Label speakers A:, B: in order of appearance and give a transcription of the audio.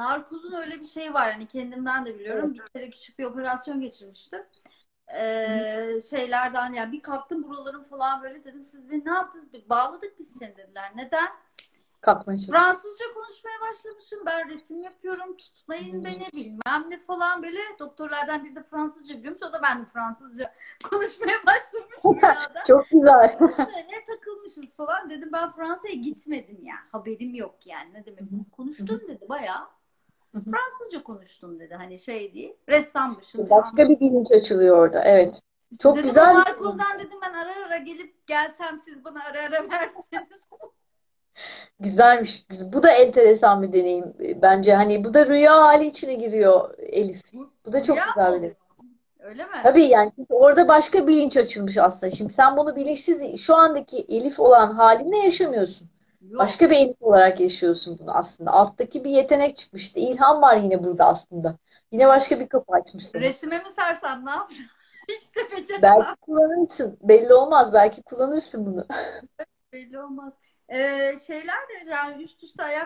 A: narkozun öyle bir şey var. Hani kendimden de biliyorum. Bir kere küçük bir operasyon geçirmiştim. Ee, şeylerden yani bir kalktım buralarım falan böyle dedim siz beni ne yaptınız? Bir Bağladık biz seni dediler. Neden?
B: Kalkmışım.
A: Fransızca konuşmaya başlamışım. Ben resim yapıyorum. Tutmayın beni bilmem ne falan böyle. Doktorlardan biri de Fransızca biliyormuş. O da ben de Fransızca konuşmaya başlamışım arada.
B: Çok güzel.
A: Böyle takılmışız falan. Dedim ben Fransa'ya gitmedim ya. Haberim yok yani. Ne demek? Konuştun dedi bayağı.
B: Hı hı. E,
A: Fransızca konuştum dedi. Hani şey değil. Ressammışım.
B: Başka bir bilinç açılıyor orada. Evet.
A: İşte
B: çok
A: dedim,
B: güzel.
A: o Narkoz'dan dedim ben ara ara gelip gelsem siz bana ara ara verseniz.
B: Güzelmiş. Güzel. Bu da enteresan bir deneyim. Bence hani bu da rüya hali içine giriyor Elif. Bu da çok
A: Ya,
B: güzel bir deneyim.
A: Öyle mi?
B: Tabii yani çünkü orada başka bilinç açılmış aslında. Şimdi sen bunu bilinçsiz şu andaki Elif olan halinle yaşamıyorsun.
A: Yok.
B: Başka bir Elif olarak yaşıyorsun bunu aslında. Alttaki bir yetenek çıkmış. İşte ilham var yine burada aslında. Yine başka bir kapı açmışsın.
A: Resime mi sersem ne yapsam? Hiç de beceremem.
B: Belki kullanırsın. Belli olmaz. Belki kullanırsın bunu.
A: Belli olmaz. Ee, şeyler de yani üst üste ayak